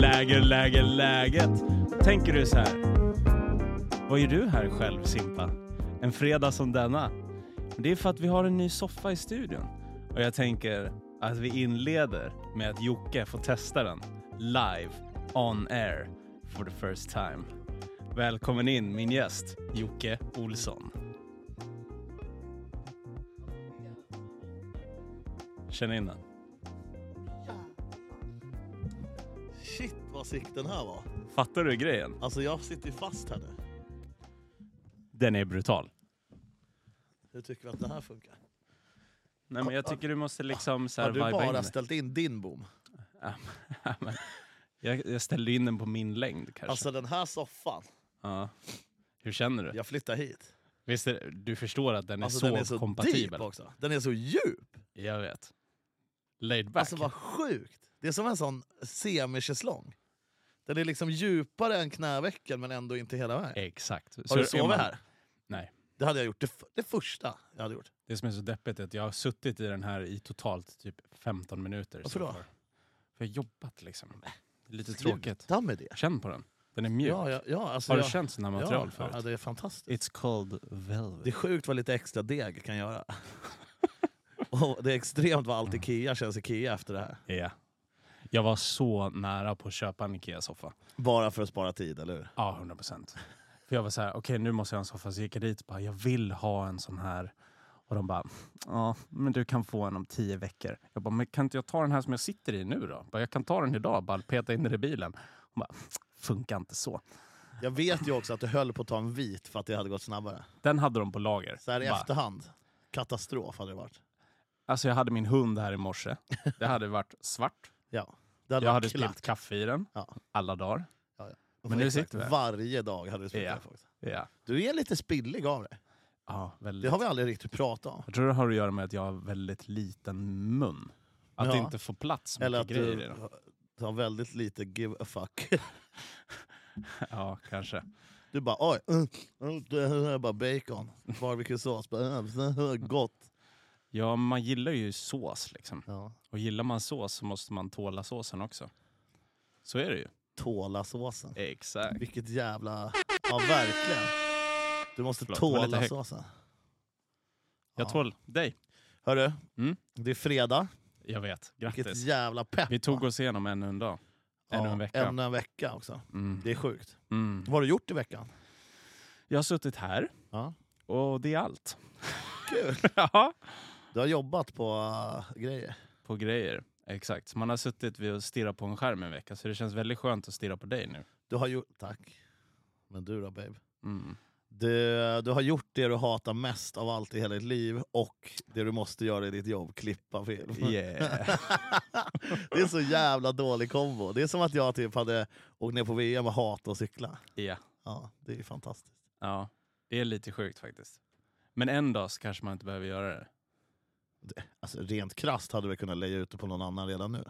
Läger, läger, läget. Tänker du så här. Vad gör du här själv Simpa? En fredag som denna? Det är för att vi har en ny soffa i studion. Och jag tänker att vi inleder med att Jocke får testa den live on air for the first time. Välkommen in min gäst Jocke Olsson. Känn in den. Shit vad sick den här var. Fattar du grejen? Alltså jag sitter ju fast här nu. Den är brutal. Hur tycker vi att den här funkar? Nej, men jag tycker du måste liksom så här Har du viba in bara det. ställt in din bom? Ja, men jag, jag ställde in den på min längd kanske. Alltså den här soffan. ja. Hur känner du? Jag flyttar hit. Visst är, du förstår att den är Alltså så, den är så kompatibel? deep också. Den är så djup. Jag vet. Laid back. Alltså vad sjukt. Det är som en sån semischäslong. Den är liksom djupare än knävecken men ändå inte hela Eh, vägen. Exakt. Har du sovit man- här? Nej. Det hade jag gjort. Det, f- det första jag hade gjort. Det som är så deppigt är att jag har suttit i den här i totalt typ 15 minuter. Varför så då? far. För jag har jobbat liksom. Det är lite tråkigt. Sluta med det. Känn på den. Den är mjuk. Ja, ja, ja, alltså har du jag, känt sådana material ja, förut? ja, det är fantastiskt. It's called velvet. Det är sjukt vad lite extra deg kan göra. Och det är extremt vad allt Ikea känns Ikea efter det här. Ja. Jag var så nära på att köpa en Ikea-soffa. Bara för att spara tid, eller hur? Ja, 100 procent. För jag var så här, okej nu måste jag ha en soffa. Så gick jag dit och bara, jag vill ha en sån här. Och de bara, ja men du kan få en om tio veckor. Jag bara, men kan inte jag ta den här som jag sitter i nu då? Jag Bara, jag kan ta den idag, bara peta in den i bilen. Hon bara, funkar inte så. Jag vet ju också att du höll på att ta en vit för att det hade gått snabbare. Den hade de på lager. Så här i Bara, efterhand, katastrof hade det varit. Alltså jag hade min hund här i morse. Det hade varit svart. Ja. Det hade Jag hade varit spillt klart. kaffe i den Ja. alla dagar. Ja, ja. Men nu Exakt. sitter vi här. Varje dag hade du spilt Ja. kaffe också. Ja, Du är lite spillig av det. ja väldigt. Det har vi aldrig riktigt pratat om. Jag tror det har att göra med att jag har väldigt liten mun. Att Ja. inte få plats med Eller att grejer du i den. har väldigt lite give a fuck. Ja, kanske. Du bara oj, mm, mm, det här är bara bacon, barbecuesås, bara, mm, gott. Ja, man gillar ju sås liksom. Ja. Och gillar man sås så måste man tåla såsen också. Så är det ju. Tåla såsen. Exakt. Vilket jävla... Ja, verkligen. Du måste Förlåt, det var lite tåla högt. såsen. Jag tål dig. Hörru, Mm. det är fredag. Jag vet. Vilket Grattis. jävla pepp. Vi tog va? oss igenom ännu en dag. Ännu Ja, en vecka. Ännu en vecka också. Mm. Det är sjukt. Mm. Vad har du gjort i veckan? Jag har suttit här Ja. och det är allt. Kul. Ja. Du har jobbat på äh, grejer. på grejer. Exakt. Man har suttit vid och stirrat på en skärm en vecka så det känns väldigt skönt att stirra på dig nu. Du har gjort... Tack. Men du då, babe? Mm. Du, du har gjort det du hatar mest av allt i hela ditt liv och det du måste göra i ditt jobb, klippa film. Yeah. Det är så jävla dålig kombo. Det är som att jag typ hade åkt ner på VM och hatat att cykla. Ja. Ja, det är fantastiskt. Ja, det är lite sjukt faktiskt. Men en dag så kanske man inte behöver göra det. Alltså, rent krasst hade vi kunnat lägga ut det på någon annan redan nu.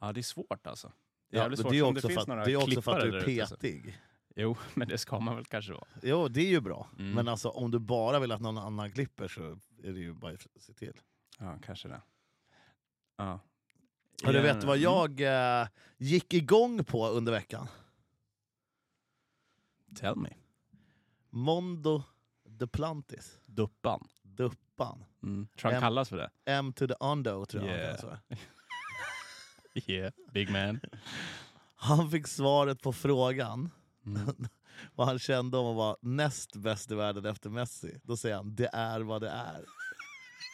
Ja, det är svårt alltså. Det är Ja, men jävligt svårt. det är Om också, det för, finns några att, det är också för att klippare du är där ute, alltså. så- petig. Jo, men det ska man väl kanske vara. Jo, det är ju bra. Mm. Men alltså, om du bara vill att någon annan klipper så är det ju bara att se till. Ja, kanske det. Ja. Och du Ja, vet du vad mm. jag eh, gick igång på under veckan? Mm. Tell me. Mondo Duplantis. Duppan. Duppan. Mm. Tror han Em- kallas för det? M to the undo tror jag Yeah. han kallas för. Yeah, big man. Han fick svaret på frågan Mm. vad han kände om att vara näst bäst i världen efter Messi. Då säger han det är vad det är.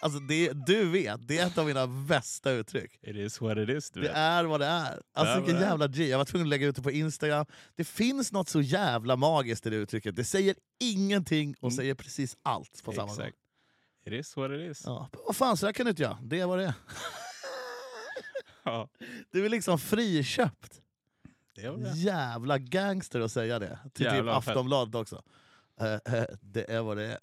Alltså det, du vet, det är ett av mina bästa uttryck. It is what it is, du Det vet. är vad det är. Alltså vad vilken det är. jävla G. Jag var tvungen att lägga ut det på Instagram. Det finns något så jävla magiskt i det uttrycket. Det säger ingenting och Mm. säger precis allt på samma gång. Exakt. It is what it is. Ja. Vad fan, så här kan du inte göra. Det är vad det är. Ja. Du är liksom friköpt. Det var det. Jävla gangster att säga det. Till typ Jävlar, fett. Aftonbladet också. Eh, eh, det är vad det är.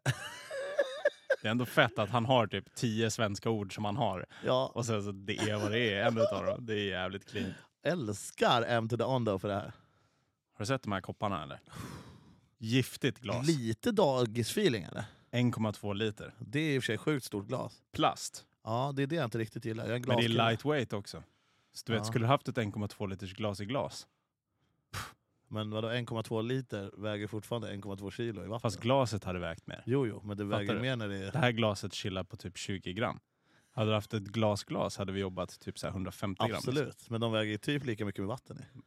det är ändå fett att han har typ tio svenska ord som han har. Ja, Och sen så det är vad det är, en utav dem. Det är jävligt clean. älskar M to the Ondo för det här. Har du sett de här kopparna eller? Giftigt glas. Lite dagisfeeling eller? 1,2 liter. Det är i och för sig sjukt stort glas. Plast. Ja, det är det jag inte riktigt gillar. Jag är en Men det är glaskille. lightweight också. Så du vet, Ja. skulle du haft ett 1,2 liters glas i glas, Men vadå 1,2 liter väger fortfarande 1,2 kilo i vatten. fast glaset hade vägt mer. Jo, jo, men det Fattar väger du? mer när det Det är... här glaset chillar på typ 20 gram. Hade du haft ett glasglas hade vi jobbat typ så här 150 gram. Absolut, men de väger ju typ lika mycket med vatten i. liksom.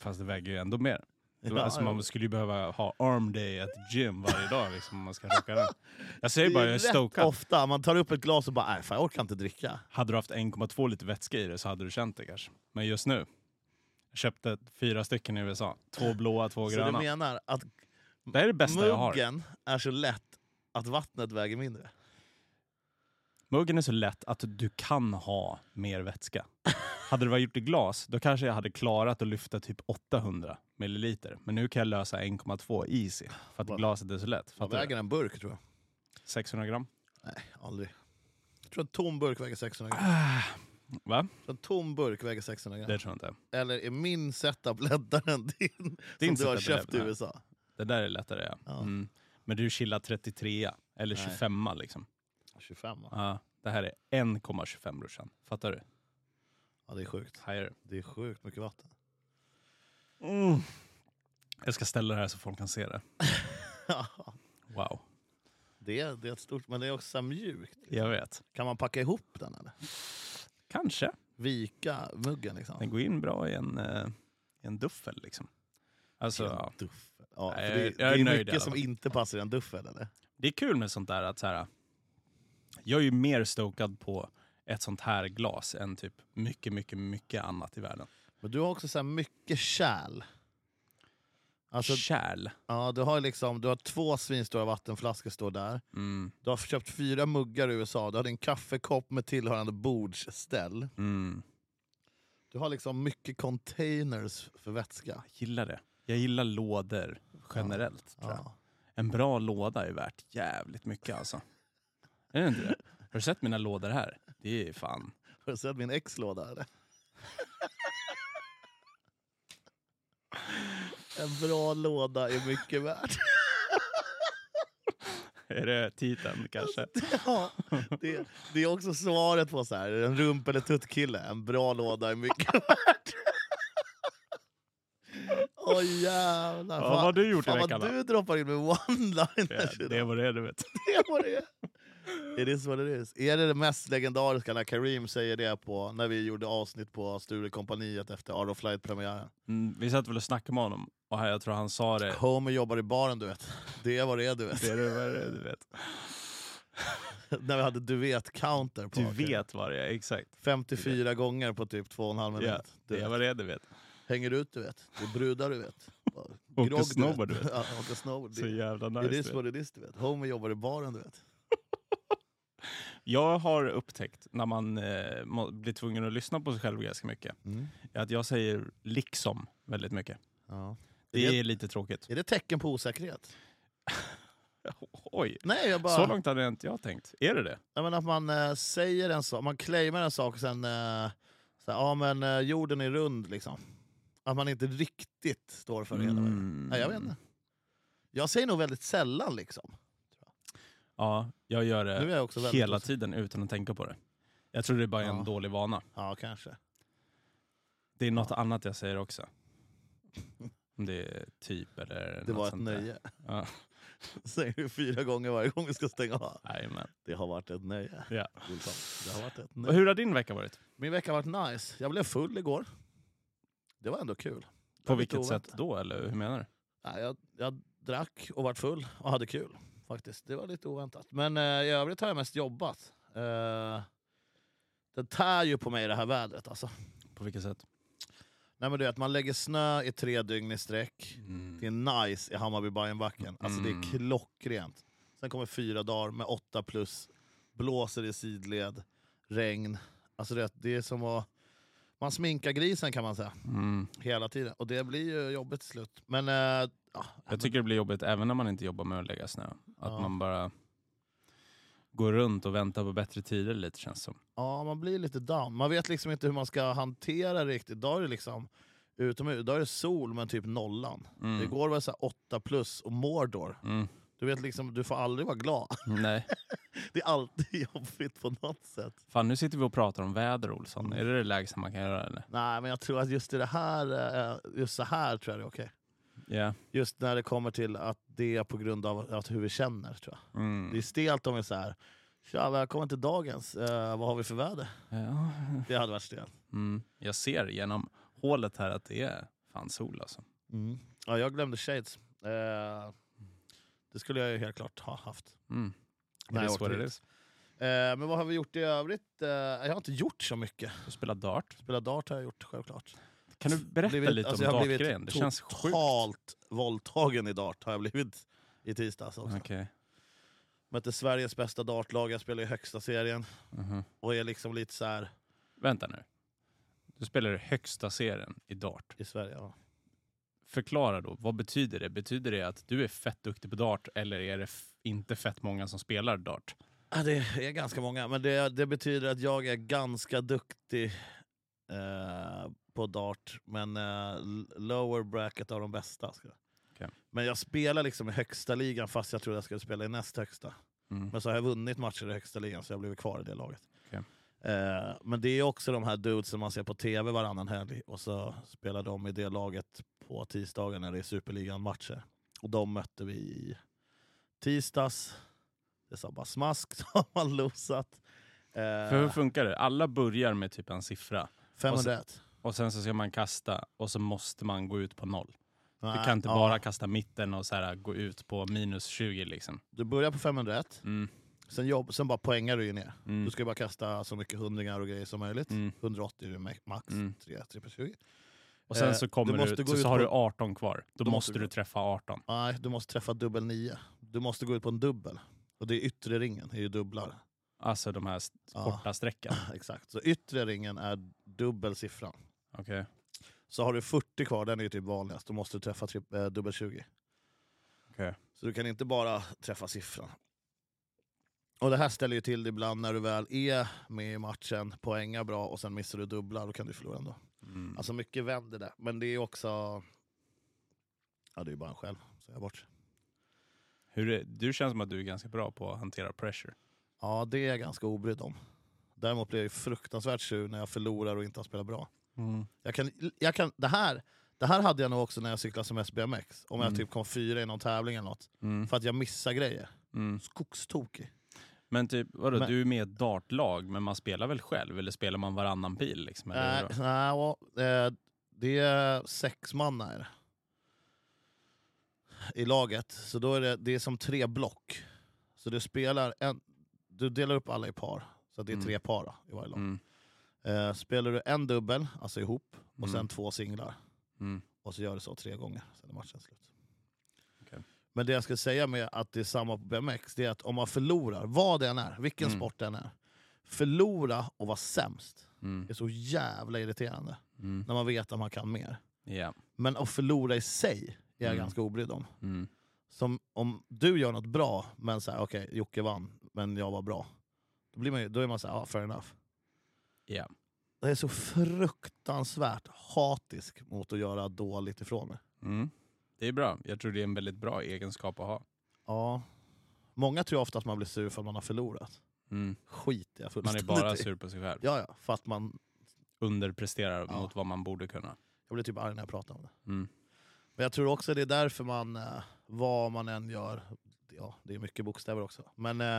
Fast det väger ju ändå mer. Det var- Ja, alltså, man jo. skulle ju behöva ha arm day at gym varje dag liksom, om man ska rocka den. Jag Det säger bara, jag är rätt stokad. ofta man tar upp ett glas och bara nej, fan, jag orkar inte dricka. Hade du haft 1,2 liter vätska i det så hade du känt det kanske. Men just nu. Jag köpte fyra stycken i USA. Två blåa, två Så du gröna. menar att Det här är det bästa jag har. muggen är så lätt att vattnet väger mindre? Muggen är så lätt att du kan ha mer vätska. Hade det varit gjort i glas, då kanske jag hade klarat att lyfta typ 800 milliliter. Men nu kan jag lösa 1,2 easy, för att Vad- glaset är så lätt. Vad Fattar du? väger en burk tror jag? 600 gram? Nej, aldrig. Jag tror en tom burk väger 600 gram. Ah, Va? Jag tror En tom burk väger 600 gram. Det tror jag inte. Eller är min setup lättare än din? Din som du har setup är köpt i lättare. USA? Det där är lättare ja. Ja. Mm. Men du chillar 33 eller Nej. 25 liksom. 25 va? Ja, det här är 1,25 brorsan. Fattar du? Ja, det är sjukt. Higher. Det är sjukt mycket vatten. Mm. Jag ska ställa det här så folk kan se det. Wow. det, är, det är ett stort, men det är också så här mjukt. Jag vet. Kan man packa ihop den eller? Kanske. Vika muggen liksom? Den går in bra i en, eh, i en duffel liksom. Alltså, I en ja. duffel. Ja, för Nej, det, jag- jag det är är nöjd i alla mycket som fall. inte passar i en duffel eller? Det är kul med sånt där att så här, jag är ju mer stokad på ett sånt här glas än typ mycket, mycket, mycket annat i världen. Men du har också så här mycket kärl. Alltså, Kärl. ja, du, har liksom, du har två svinstora vattenflaskor står där. Mm, Du har köpt fyra muggar i USA. Du har din kaffekopp med tillhörande bordsställ. mm. Du har liksom mycket containers för vätska. Jag gillar det. Jag gillar lådor generellt. Tror jag. Ja. En bra låda är värt jävligt mycket alltså. Är det inte det? Har du sett mina lådor här? Det är fan... Har du sett min ex-låda eller? En bra låda är mycket värd. Är det titeln kanske? Ja, det, det är också svaret på så här, en rump eller tuttkille. En bra låda är mycket värd. Åh jävlar. Ja, vad har du gjort i fan veckan, vad då? du droppar in med one-liners Det, idag. det var det du vet. Det var det. It is what it is. Är det det mest legendariska när Karim säger det på när vi gjorde avsnitt på Sturecompagniet efter Art of Flight-premiären? Mm, vi satt väl och snackade med honom och här, jag tror han sa det. Homer jobbar i baren du vet. Det var det du vet. Eh. Det är det, vad är det, du vet. när vi hade du vet-counter på Du Karim. vet vad det är, exakt. 54 gånger på typ två och en halv minut. Ja, Du det vet. var det du vet. Hänger ut du vet. Det är brudar du vet. Åker Grogg, snowboard, du vet. Ja, åker snowboard. Så Det, jävla it nice. is du vet. what it is du vet. Homer jobbar i baren du vet. Jag har upptäckt när man eh, må- blir tvungen att lyssna på sig själv ganska mycket, Mm. är att jag säger liksom väldigt mycket. Ja. Det Är, det, är lite tråkigt. är det tecken på osäkerhet? Oj, Nej, jag bara... så långt hade jag inte jag tänkt. Är det det? Nej, men att man eh, säger en sak, man claimar en sak och sen... Eh, så här, ja men eh, jorden är rund liksom. Att man inte riktigt står för det hela Mm. vägen. Nej, jag vet inte. Jag säger nog väldigt sällan liksom. Ja, jag gör det Nu är jag också väldigt... Eh, hela tiden utan att tänka på det. Jag tror det är bara en Ja. dålig vana. Ja, kanske. Det är något annat jag säger också. Om det är typ eller Det något var ett sånt där. nöje. Ja. Säger du fyra gånger varje gång vi ska stänga av. Jajamän. Det har varit ett nöje. Ja. Olsson. Det har varit ett Och nöje. Hur har din vecka varit? Min vecka har varit nice. Jag blev full igår. Det var ändå kul. På lite vilket oväntat. sätt då? Eller hur menar du? Nej, jag, jag drack och vart full och hade kul. faktiskt. Det var lite oväntat. Men eh, i övrigt har jag mest jobbat. Eh, det tär ju på mig det här vädret. Alltså. På vilket sätt? Nej, men du vet, man lägger snö i tre dygn i sträck. Mm. Det är nice i hammarby bajenbacken Alltså Det Mm. är klockrent. Sen kommer fyra dagar med åtta plus. Blåser i sidled. Regn. Alltså det, det är som att... Man sminkar grisen kan man säga. Mm. Hela tiden. Och det blir ju jobbigt till slut. Men... Eh, ja, Jag tycker det blir jobbigt även när man inte jobbar med att lägga snö. Att Ja. man bara går runt och väntar på bättre tider lite känns som. Ja, man blir lite down. Man vet liksom inte hur man ska hantera det riktigt. Då är det liksom utomhus, då är det sol men typ nollan. Mm. Igår var det så här 8 plus och Mordor. Mm. Du vet liksom, du får aldrig vara glad. Nej. Det är alltid jobbigt på något sätt. Fan, nu sitter vi och pratar om väder, Olsson. Är det det lägsta man kan göra? Eller? Nej, men jag tror att just i det här, eh, just så här tror jag det är okej. Ja. Just när det kommer till att det är på grund av att hur vi känner tror jag. Mm. Det är stelt om vi är så här. Tja, välkommen till dagens. Eh, vad har vi för väder? ja. Det hade varit stelt. Mm. Jag ser genom hålet här att det är fan sol alltså. Mm. Ja, jag glömde shades. Eh, det skulle jag ju helt klart ha haft. Mm. när It jag is åkte what it hit. is. Eh, men vad har vi gjort i övrigt? Eh, jag har inte gjort så mycket. Du spelar dart. Spela dart har jag gjort självklart. Kan du berätta Blivit- lite alltså, om jag har blivit dartgrejen? Det känns sjukt. Totalt våldtagen i dart har jag blivit i tisdags också. Okej. Mötte Sveriges bästa dartlag, jag spelar i högsta serien Mhm. och är liksom lite så här Vänta nu. Du spelar i högsta serien i dart. i Sverige. Ja. Förklara då, vad betyder det? Betyder det att du är fett duktig på dart eller är det f- inte fett många som spelar dart? Ja, Det är ganska många, men det, det betyder att jag är ganska duktig eh, på dart, men eh, l- lower bracket av de bästa. Ska. jag. Okej. Men jag spelar liksom i högsta ligan fast jag trodde jag skulle spela i näst högsta. Mm. Men så har jag vunnit matcher i högsta ligan så jag har blivit kvar i det laget. Okej. Eh, men det är också de här dudes som man ser på tv varannan helg och så spelar de i det laget på tisdagar när det är superligan-matcher. Och de mötte vi i tisdags. Det sa bara smask, så har man losat. För hur Eh, funkar det? Alla börjar med typ en siffra 501. och sen så ska man kasta och så måste man gå ut på noll. Nej, Du kan inte ja. bara kasta mitten och så här, gå ut på minus 20 liksom. Du börjar på 501, Mm. sen, jobb, sen bara poängar du ju ner. Mm. Du ska ju bara kasta så mycket hundringar och grejer som möjligt. Mm. 180 är ju ma- max, Mm. 3, 3 på 20. Och sen Eh, så kommer du du, måste ut, gå så, ut så har på- du 18 kvar. Då, Då måste måste du du gå- träffa 18. Nej, du måste träffa dubbel nio. Du måste gå ut på en dubbel. Och det är yttre ringen, det är ju dubblar. Alltså de här s- Ja. korta sträckan. Exakt. Så yttre ringen är dubbel siffran. Okej. Så har du 40 kvar, den är ju typ vanligast, då måste du träffa tri- eh, dubbel 20. Okej. Så du kan inte bara träffa siffran. Och det här ställer ju till det ibland när du väl är med i matchen, poängar bra och sen missar du dubblar, då kan du förlora ändå. Mm. Alltså mycket vänder det, men det är också... Ja, det är ju bara en själv, så jag bort. Hur är, du känns som att du är ganska bra på att hantera pressure. Ja, det är jag ganska obrydd om. Däremot blir jag ju fruktansvärt sur när jag förlorar och inte har spelat bra. Jag kan, jag kan, det, här, det här hade jag nog också när jag cyklade som SBMX. Om jag Mm. typ kom fyra i någon tävling eller något. Mm. För att jag missar grejer. Mm. Skogstokig. Men typ, vadå, Men- du är med i ett dartlag, men man spelar väl själv? Eller spelar man varannan pil? Liksom, eller Nej, hur då? nej, ja, eh, det är sex man här. I laget. Så då är det, det är som tre block. Så du spelar en, du delar upp alla i par. Så att det är Mm. tre par då, i varje lag. Mm. Eh, spelar du en dubbel, alltså ihop, och Mm. sen två singlar. Mm. Och så gör du så tre gånger, sen är matchen slut. Okej. Men det jag ska säga med att det är samma på BMX, det är att om man förlorar, vad det än är, vilken Mm. sport det än är, förlora och vara sämst Mm. är så jävla irriterande. Mm. När man vet att man kan mer. Ja. Men att förlora i sig är jag Mm. ganska obrydd om. Mm. Som om du gör något bra, men så här, okej Jocke vann, men jag var bra. Då, blir man, ju- då är man så här, ah, fair enough. Ja. Jag är så fruktansvärt hatisk mot att göra dåligt ifrån mig. Mm. Det är bra. Jag tror det är en väldigt bra egenskap att ha. Ja. Många tror ofta att man blir sur för att man har förlorat. Mm. Skit jag Man är fullständigt bara i. sur på sig själv. Ja, ja. För att man, Underpresterar Ja. mot vad man borde kunna. jag blir typ arg när jag pratar om det. Mm. Men jag tror också det är därför man, eh, vad man än gör, ja det är mycket bokstäver också, men eh,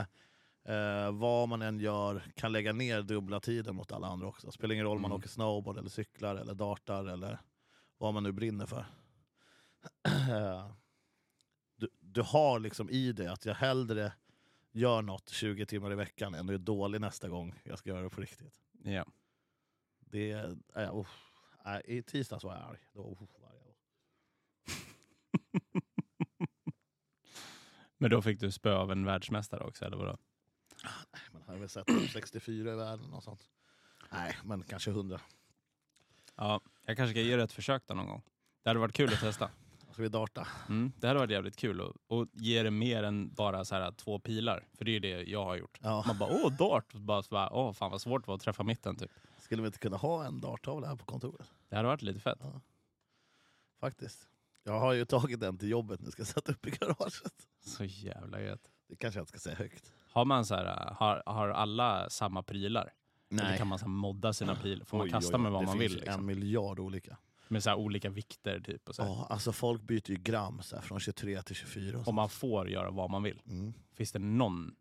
eh, vad man än gör kan lägga ner dubbla tiden mot alla andra också. Spelar ingen roll om man Mm. åker snowboard, eller cyklar, eller dartar eller vad man nu brinner för. du, du har liksom i dig att jag hellre gör något 20 timmar i veckan än är dålig nästa gång jag ska göra det på riktigt. Ja. Det, äh, uff. Nej, I tisdags var jag arg. Då, uff, var jag. Men då fick du spö av en världsmästare också, eller vadå? Man har väl sett typ 64 i världen och sånt. Nej, men kanske 100. Ja, jag kanske ska ge det ett försök då någon gång. Det hade varit kul att testa. Ska vi darta? Mm, det hade varit jävligt kul att, att ge det mer än bara så här två pilar. För det är ju det jag har gjort. Ja. Man bara åh, dart! Och bara, så bara, åh, fan vad svårt det var att träffa mitten typ. Skulle vi inte kunna ha en darttavla här på kontoret? Det hade varit lite fett. Faktiskt. Jag har ju tagit den till jobbet nu, ska sätta upp i garaget. Så jävla gött. Det kanske jag inte ska säga högt. Har, man så här, äh, har, har alla samma prylar? Eller kan man så här modda sina prylar? Får man Oj, kasta oj, oj. med vad det man finns vill? ju Liksom? en miljard olika. Med så här olika vikter typ. Och så här. Ja, alltså folk byter ju gram så här, från 23 till 24. Och Om sånt. man får göra vad man vill. Mm. Finns det någon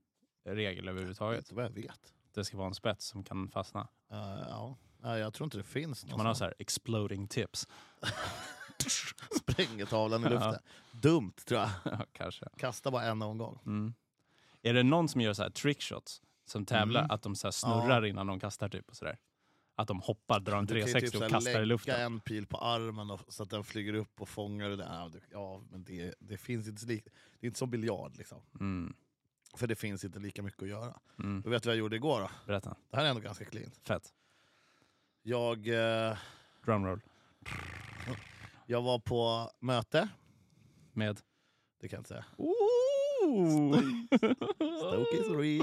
regel överhuvudtaget? Inte vad jag vet. Det ska vara en spets som kan fastna. Eh, ja. Nej, jag tror inte det finns någon Kan man ha sån så här exploding tips? sprängetavlan i luften. Dumt tror jag. Ja, Kanske. Kasta bara en omgång. Mm. Är det någon som gör så här trickshots som tävlar, Mm. att de så här snurrar innan de kastar typ och sådär? Att de hoppar, drar en Du kan ju typ 360 så här och kastar i luften? lägga en pil på armen och, så att den flyger upp och fångar det där. Ja, du- Ja, men det, det finns inte så lik, Det är inte som biljard liksom. Mm. För det finns inte lika mycket att göra. Mm. Du vet vad jag gjorde igår då? Berätta. Det här är ändå ganska cleant. Fett. Jag, eh, Drumroll. jag var på möte. Med... Det kan jag inte säga. Ooh! Stoke Oh. is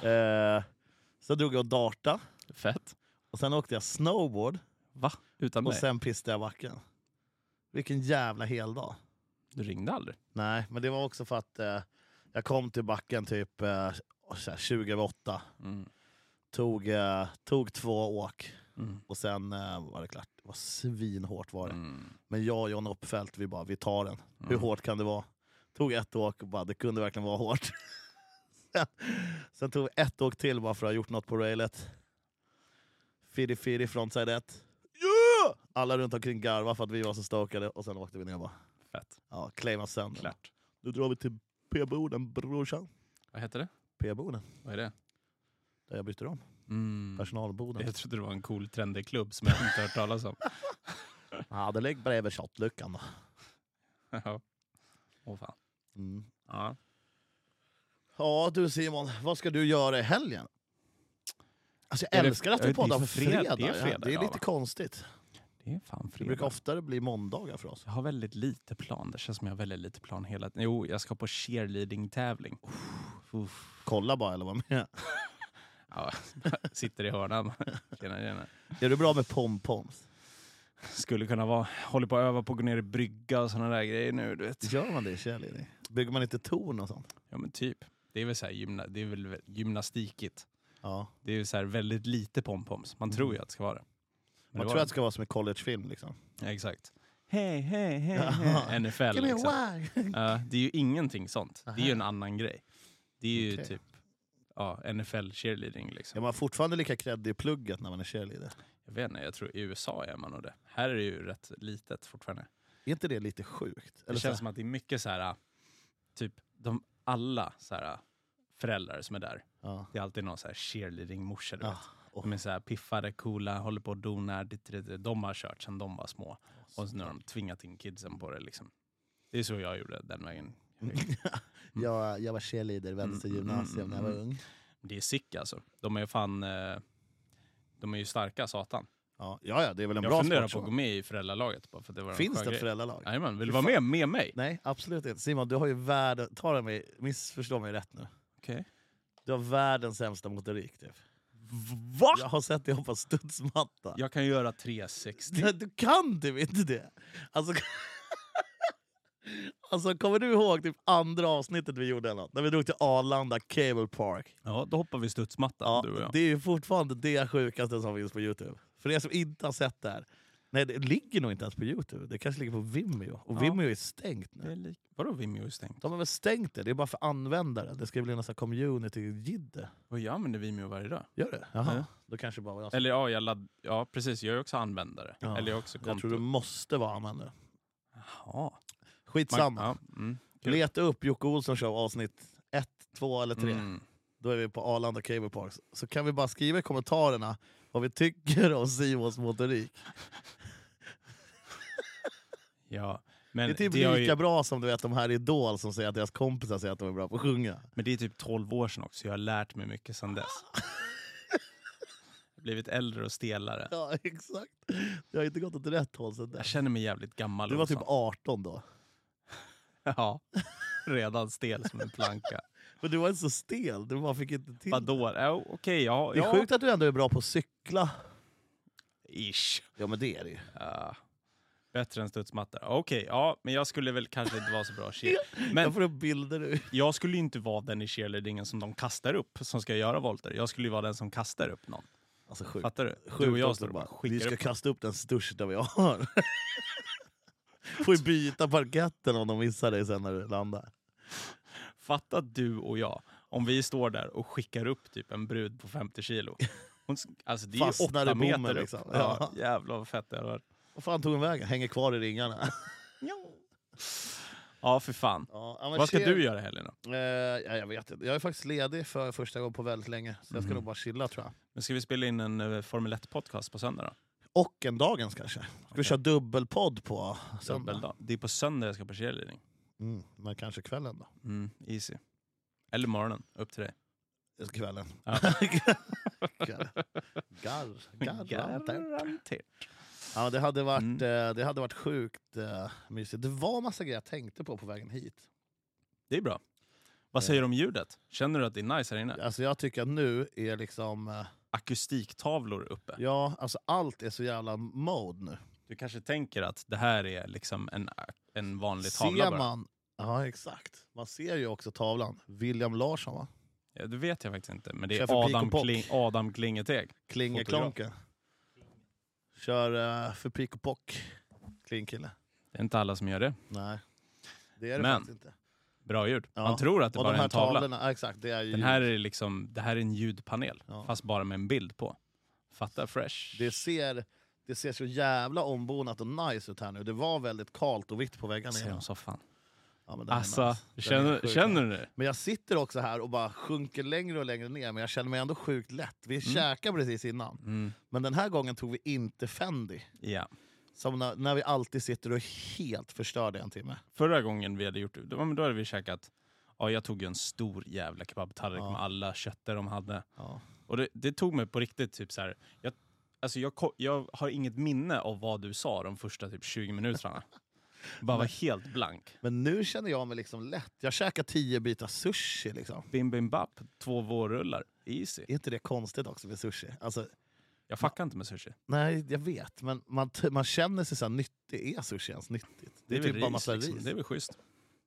real. Eh, så drog jag darta. Fett. Och sen åkte jag snowboard. Va? Utan Och mig? sen pistade jag backen. Vilken jävla hel dag. Du ringde aldrig? Nej, men det var också för att eh, jag kom till backen typ eh, så här 20 över åtta. Mm. Tog, eh, tog två åk Mm. och sen eh, var det klart. Det var svinhårt var det. Mm. Men jag och John Uppfeldt, vi bara vi tar den. Hur Mm. hårt kan det vara? Tog ett åk och bara det kunde verkligen vara hårt. sen, sen tog vi ett åk till bara för att ha gjort något på railet. Fiddy fiddy frontside ett. Yeah! Alla runt omkring garvade för att vi var så stokade och sen åkte vi ner och bara Fett. ja, claima sönder. Klart. Nu drar vi till P-boden brorsan. Vad heter det? P-boden, Vad är det? där jag bytte om. Mm. Personalboden. Jag trodde det var en cool trendig klubb som jag inte hört talas om. Ja, det ligger bredvid shotluckan då. Ja. Åh fan. Mm. Ja. Ja du Simon, vad ska du göra i helgen? Alltså jag Är det- älskar att ja, det vi är poddar på fred- fredag. det är fredag ja. det är idag, lite va? konstigt. Det är fan Det fredag. brukar oftare bli måndagar för oss. Jag har väldigt lite plan. Det känns som jag har väldigt lite plan hela tiden. Jo, jag ska på cheerleading-tävling. Uff. Kolla bara eller vad med. Ja, sitter i hörnan. Tjena, tjena. Är du bra med pompoms? Skulle kunna vara. Håller på att öva på att gå ner i brygga och såna där grejer nu. Du vet. Gör man det i cheerleading? Bygger man inte torn och sånt? Ja, men typ. Det är väl, så här gymna, det är väl gymnastikigt. Ja. Det är ju så här väldigt lite pompoms. Man tror ju att det ska vara det. Men Mm. Man det tror var- att det ska vara som en collegefilm liksom. ja, Exakt. Hej, hej, hej, Jaha. hej. NFL Give me a liksom. wag. Ja, det är ju ingenting sånt. Det är ju en annan grej. Det är ju Okej. typ ja, NFL-cheerleading liksom. Är man fortfarande lika kreddig i plugget när man är cheerleader? Jag vet inte, jag tror i USA är man nog det. Här är det ju rätt litet fortfarande. Är inte det lite sjukt? Det Eller känns så som att det är mycket så här, typ de alla så här, föräldrar som är där. här- ja. Det är alltid någon så här cheerleading-morsa du Ja, vet. åh. De är så här piffade, coola, håller på och donar. ditt, ditt, ditt. De har kört sedan de var små. Och så nu har de tvingat in kidsen på det liksom. Det är så jag gjorde den vägen. jag, jag var cheerleader i Mm, vänstergymnasium när jag var ung. Det är sick alltså. De är ju fan, eh, de är ju starka satan. Ja, ja, ja, det är väl en Jag bra funderar sport. på att gå så. med i föräldralaget. Bara för att det var en skön Finns det ett grej. föräldralag? Jajamän, vill Fy du vara med med mig? Nej, absolut inte. Simon, du har ju världen... Ta det mig, missförstå mig rätt nu. Okej. Du har världens sämsta motorik. Typ. Va? Jag har sett dig hoppa studsmatta. Jag kan göra 360. Nej, Du kan typ inte det! Alltså, alltså, kommer du ihåg typ andra avsnittet vi gjorde? Eller något? När vi drog till Arlanda Cable Park. Ja, då hoppar vi studsmatta Ja, du och jag. det är ju fortfarande det sjukaste som finns på Youtube. För er som inte har sett det här. Nej, det ligger nog inte ens på Youtube. Det kanske ligger på Vimeo. Och Ja. Vimeo är stängt nu. Det är lik... Vadå Vimeo är stängt? De har väl stängt det? Det är bara för användare. Det ska bli någon sån här community-jidde. Och jag använder Vimeo varje dag. Gör det? Jaha. Ja. Då kanske bara var jag som... Eller ja, jag ladd... ja precis. Jag är också användare. Ja, Eller jag är också konto. Jag tror du måste vara användare. Jaha. Man- Skitsamma. Ja, mm. kul. Leta upp Jocke Olsson show avsnitt 1, 2 eller 3. Mm. Då är vi på Arlanda Cable Park. Så kan vi bara skriva i kommentarerna vad vi tycker om Simons motorik. Ja. Det Men, är det typ har lika ju... bra som du vet de här i Idol som säger att deras kompisar säger att de är bra på att sjunga. Men det är typ 12 år sedan också. Jag har lärt mig mycket sedan dess. Jag har blivit äldre och stelare. Ja, exakt. Det har inte gått åt rätt håll sedan Jag dess. känner mig jävligt gammal. Du var också. typ 18 då. Ja. Redan stel som en planka. Men du var inte så stel, du bara fick inte till Vadå? Ja, Okej, ja. Det är ja. sjukt att du ändå är bra på att cykla. Ish. Ja men det är det ju. Ja. Bättre än studsmatta. Okej, ja, men jag skulle väl kanske inte vara så bra cheer. Men Jag får upp bilder ur... jag skulle ju inte vara den i cheerleadingen som de kastar upp, som ska göra volter. Jag skulle ju vara den som kastar upp någon. Alltså sjukt. Fattar du? sjukt Du och jag också står och bara Vi skickar ska upp. kasta upp den största vi har. får ju byta parketten om de missar dig sen när du landar. Fatta du och jag, om vi står där och skickar upp typ en brud på 50 kilo. Hon, sk- alltså det är ju Fastnar i åtta meter bommen, upp. liksom. Ja, Ja. jävlar vad fett det hade varit. Vad fan tog hon vägen? Hänger kvar i ringarna. Ja, för fan. Ja, ja, men Vad ska chill. du göra i helgen då? Eh, ja, jag vet inte. Jag är faktiskt ledig för första gången på väldigt länge. Så jag ska Mm. nog bara chilla tror jag. Men ska vi spela in en eh, Formel 1-podcast på söndag då? Och en dagens kanske. Ska vi Okej. köra dubbelpodd på söndag? Dubbeldag. Det är på söndag jag ska på cheerleading. Mm, men kanske kvällen då. Mm, easy. Eller morgonen, upp till dig. Eller Kvällen. Ja. Kvällen. Gar, garanter. Garanterat. ja, det, hade varit, Mm. eh, det hade varit sjukt eh, mysigt. Det var massa grejer jag tänkte på på vägen hit. Det är bra. Vad Ja. säger du om ljudet? Känner du att det är nice här inne? Alltså jag tycker att nu är liksom... eh, Akustiktavlor uppe. Ja, alltså allt är så jävla mode nu. Du kanske tänker att det här är liksom en, en vanlig tavla Ser bara. man... Ja, exakt. Man ser ju också tavlan. William Larsson, va? Ja, det vet jag faktiskt inte, men det Kör är för pik Adam, och pock. Kling, Adam Klingeteg. Klingeklonken. Kör eh, för pik och pock. Klingkille. Det är inte alla som gör det. Nej, det är det Men, faktiskt inte. Bra ljud. Ja, Man tror att det Och bara de är här en tavla. tavlorna, ja, exakt. Det är ju... Den här är liksom, det här är en ljudpanel, Ja. fast bara med en bild på. Fatta fresh. det, ser, det ser så jävla ombonat och nice ut här nu. Det var väldigt kalt och vitt på väggarna. Ser innan. om soffan. Ja, men den är Alltså, nice. Den är känner, sjukt känner du det? Men jag sitter också här och bara sjunker längre och längre ner, men jag känner mig ändå sjukt lätt. Vi käkade precis innan, Mm. men den här gången tog vi inte Fendi. Ja. Som när, när vi alltid sitter och är helt förstörda i en timme. Förra gången vi hade gjort det, då, ja, men då hade vi käkat, ja jag tog ju en stor jävla kebabtallrik Ja. med alla kötter de hade. Ja. Och det, det tog mig på riktigt typ så här. Jag, alltså jag, ko- jag har inget minne av vad du sa de första typ 20 minuterna. Bara var helt blank. Men nu känner jag mig liksom lätt. Jag käkar tio bitar sushi. Liksom. Bim bim bap, två vårrullar. Easy. Är inte det konstigt också med sushi? Alltså, Jag fuckar inte med sushi. nej, jag vet, men man, t- man känner sig så här nyttig. Är sushi ens nyttigt? Det är, väl typ bara massa liksom. ris. Det är väl schysst.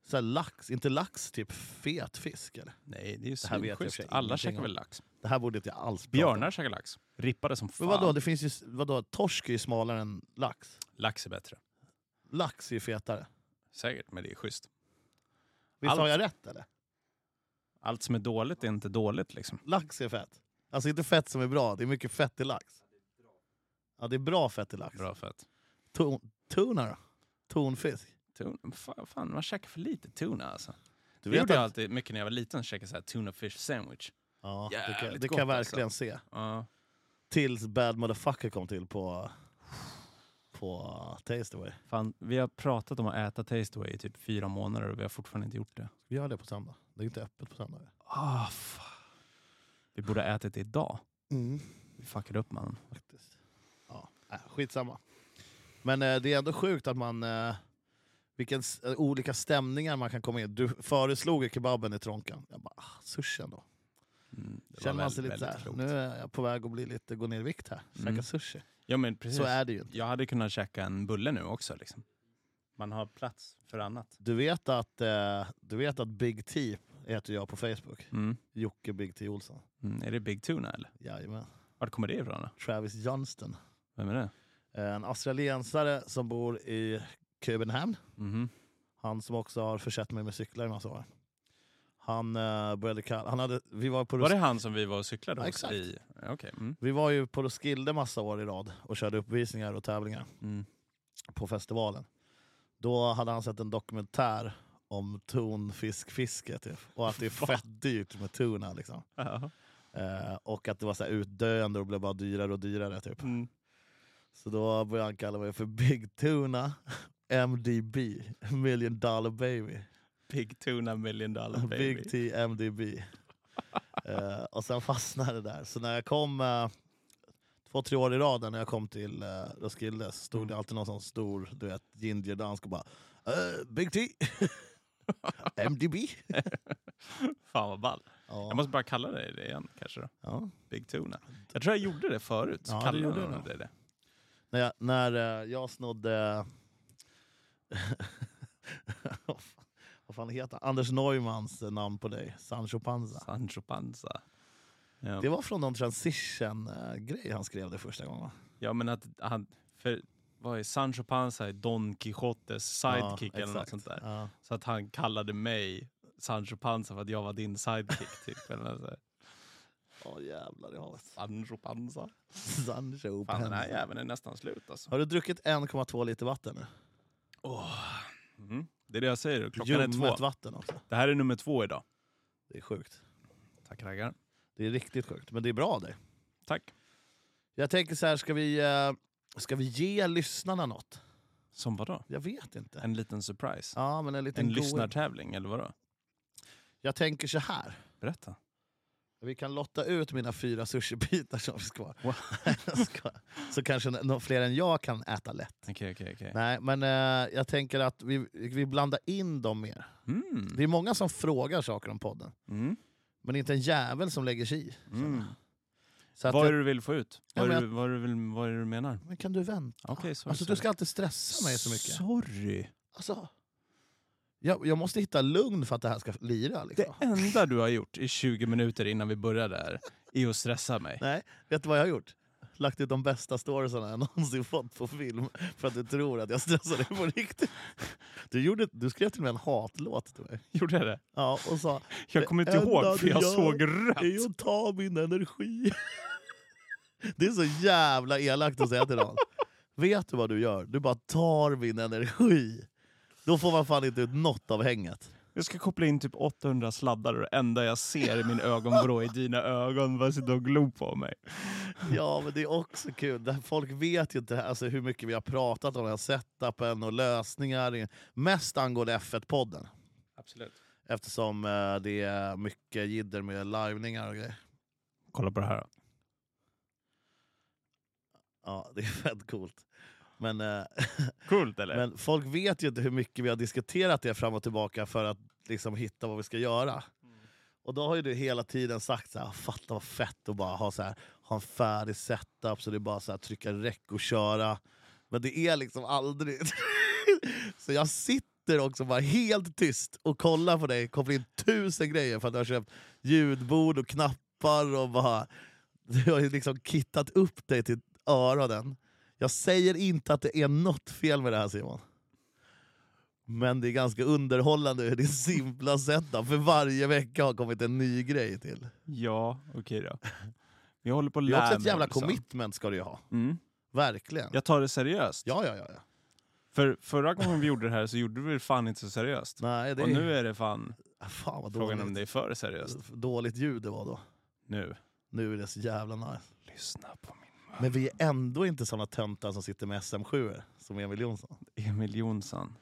Så här, lax, inte lax, typ fet fisk? Eller? Nej, det är ju Det här vet jag i och för svinschysst. sig Alla ingenting käkar om. väl lax. Det här borde inte jag alls prata om. Björnar käkar lax. Rippade som fan. Men vadå, det finns ju, vadå, torsk är ju smalare än lax. Lax är bättre. Lax är ju fetare. Säkert, men det är schysst. Visst har Allt. jag rätt eller? Allt som är dåligt är inte dåligt liksom. Lax är fett. Alltså inte fett som är bra, det är mycket fett i lax. Ja, det är bra fett i lax. Bra fett. Ton, tuna då? Tonfisk? Tuna. Fan, fan, man käkar för lite tuna alltså. det Du vet gjorde jag att, alltid mycket när jag var liten, käkade så här tuna fish sandwich. ja, det kan, Jävligt det kan gott, alltså. jag verkligen se. Ja. Tills Bad Motherfucker kom till på, på Tasteaway. Fan, vi har pratat om att äta Tasteway i typ fyra månader och vi har fortfarande inte gjort det. Vi gör det på söndag. Det är inte öppet på söndag. Ah, fan. Vi borde ha ätit det idag. Mm. Vi fuckade upp mannen. faktiskt. Ja, äh, skitsamma. Men eh, det är ändå sjukt att man... Eh, vilken s- eh, olika stämningar man kan komma in Du föreslog ju kebaben i Tronkan. Jag bara, ah, sushi ändå. Mm, det var Känner man väl- sig lite väldigt såhär, klokt. nu är jag på väg att bli lite, gå ner i vikt här. Käka Mm. sushi. Ja men precis. Så är det ju inte. Jag hade kunnat käka en bulle nu också. Liksom. Man har plats för annat. Du vet att, eh, du vet att Big T heter jag på Facebook. Mm. Jocke Big T Olsson. Mm. Är det Big Tuna eller? Jajamän. Vart kommer det ifrån då? Travis Johnston. Vem är det? En australiensare som bor i Köpenhamn. Mhm. Han som också har försett mig med cyklar i massa år. Han eh, började kalla... Han hade, vi, var på Var Ros- det han som vi var och cyklade Ja, hos? exakt. I... ja, Okej. Mm. vi var ju på Roskilde massa år i rad och körde uppvisningar och tävlingar Mm. på festivalen. Då hade han sett en dokumentär om tonfiskfiske typ. och att det är fett dyrt med tuna. Liksom. Ja. Eh, och att det var så här utdöende och blev bara dyrare och dyrare. Typ. Mm. Så då började han kalla mig för Big Tuna, MDB, Million Dollar Baby. Big Tuna Million Dollar Baby. Big T MDB. Eh, och sen fastnade det där. Så när jag kom eh, två, tre år i rad när jag kom till eh, Roskilde så stod det Mm. alltid någon sån stor du vet, ginger-dansk och bara eh, Big T MDB. Fan vad ball. Jag Ja, måste bara kalla dig det igen kanske då. ja. Big Tuna. Jag tror jag gjorde det förut. Ja, Ja, du kallade gjorde jag det. nog dig det. När, jag, när eh, jag snodde Vad fan- Vad fan heter han? Anders Neumans eh, namn på dig, Sancho Panza. Sancho Panza. Ja. Det var från någon transition-grej han skrev det första gången va? ja, men att han... För, vad är Sancho Panza är Don Quijotes sidekick Ja, eller något exakt. sånt där. Ja. Så att han kallade mig Sancho Panza för att jag var din sidekick. typ. eller något sånt där. Åh jävlar i havet. Sancho Panza. Sancho Fan, den här Panza. jäveln är nästan slut alltså. Har du druckit 1,2 liter vatten nu? Mm. Det är det jag säger. Klockan är Ljummet två. vatten också. Det här är nummer två idag. Det är sjukt. Tack raggar. Det är riktigt sjukt, men det är bra av dig. Tack. Jag tänker så här, ska vi, eh, ska vi ge lyssnarna något? Som vadå? Jag vet inte. En liten surprise. Ja, men en liten en go- lyssnartävling eller vadå? Jag tänker så här. Berätta. Vi kan lotta ut mina fyra sushibitar som finns kvar. Wow. Jag skojar. så kanske nå- nå- fler än jag kan äta lätt. Okej, okej, okej. Nej, men eh, jag tänker att vi, vi blandar in dem mer. Mm. Det är många som frågar saker om podden, Mm. men inte en jävel som lägger sig i. Mm. Så att, Vad är det du vill få ut? Ja, Vad är men det, du- vad är det, du vill- vad är det du menar? men kan du vänta? Okej, sorry, alltså, du sorry. ska alltid stressa mig så mycket. Sorry. Alltså, jag, jag måste hitta lugn för att det här ska lira. Liksom. Det enda du har gjort i 20 minuter innan vi började här är att stressa mig. Nej, vet du vad jag har gjort? Lagt ut de bästa storiesarna jag någonsin fått på film för att du tror att jag stressar dig på riktigt. Du, gjorde, du skrev till och med en hatlåt till mig. Gjorde jag det? Ja, och sa Jag kommer inte Det enda ihåg för du jag gör såg är rött. att ta min energi. Det är så jävla elakt att säga till någon. Vet du vad du gör? Du bara tar min energi. Då får man fan inte ut något av hänget. Jag ska koppla in typ 800 sladdar och det enda jag ser i min ögonvrå är dina ögon bara sitta och glo på mig. Ja, men det är också kul. Det här- Folk vet ju inte alltså, hur mycket vi har pratat om den här setupen och lösningar. Mest angående F1-podden. Absolut. Eftersom eh, det är mycket jidder med livningar och grejer. Kolla på det här. Ja, det är fett coolt. Men, eh, Coolt eller? men folk vet ju inte hur mycket vi har diskuterat det fram och tillbaka för att liksom, hitta vad vi ska göra. Och då har ju du hela tiden sagt så här, fatta vad fett att bara ha, så här, ha en färdig setup så det är bara så här, trycka räck och köra. Men det är liksom aldrig... så jag sitter också bara helt tyst och kollar på dig, kopplar in tusen grejer för att du har köpt ljudbord och knappar och bara... Du har ju liksom kittat upp dig till öronen. Jag säger inte att det är något fel med det här Simon. Men det är ganska underhållande hur din simpla setup för varje vecka har kommit en ny grej till. Ja, okej då. Jag håller på att Det är lära också ett mig, jävla liksom. commitment ska du ju ha. Mm. Verkligen. Ja, Jag tar det seriöst. ja, ja. ja. För förra gången vi gjorde det här så gjorde vi det fan inte så seriöst. Nej, det Och nu är... Ah, är det fan Fan vad frågan om dåligt, det är för seriöst. dåligt ljud det var då. Nu. Nu är det så jävla nice. Lyssna på min Men vi är ändå inte såna töntar som sitter med SM7 som Emil Jonsson. Emil Jonsson.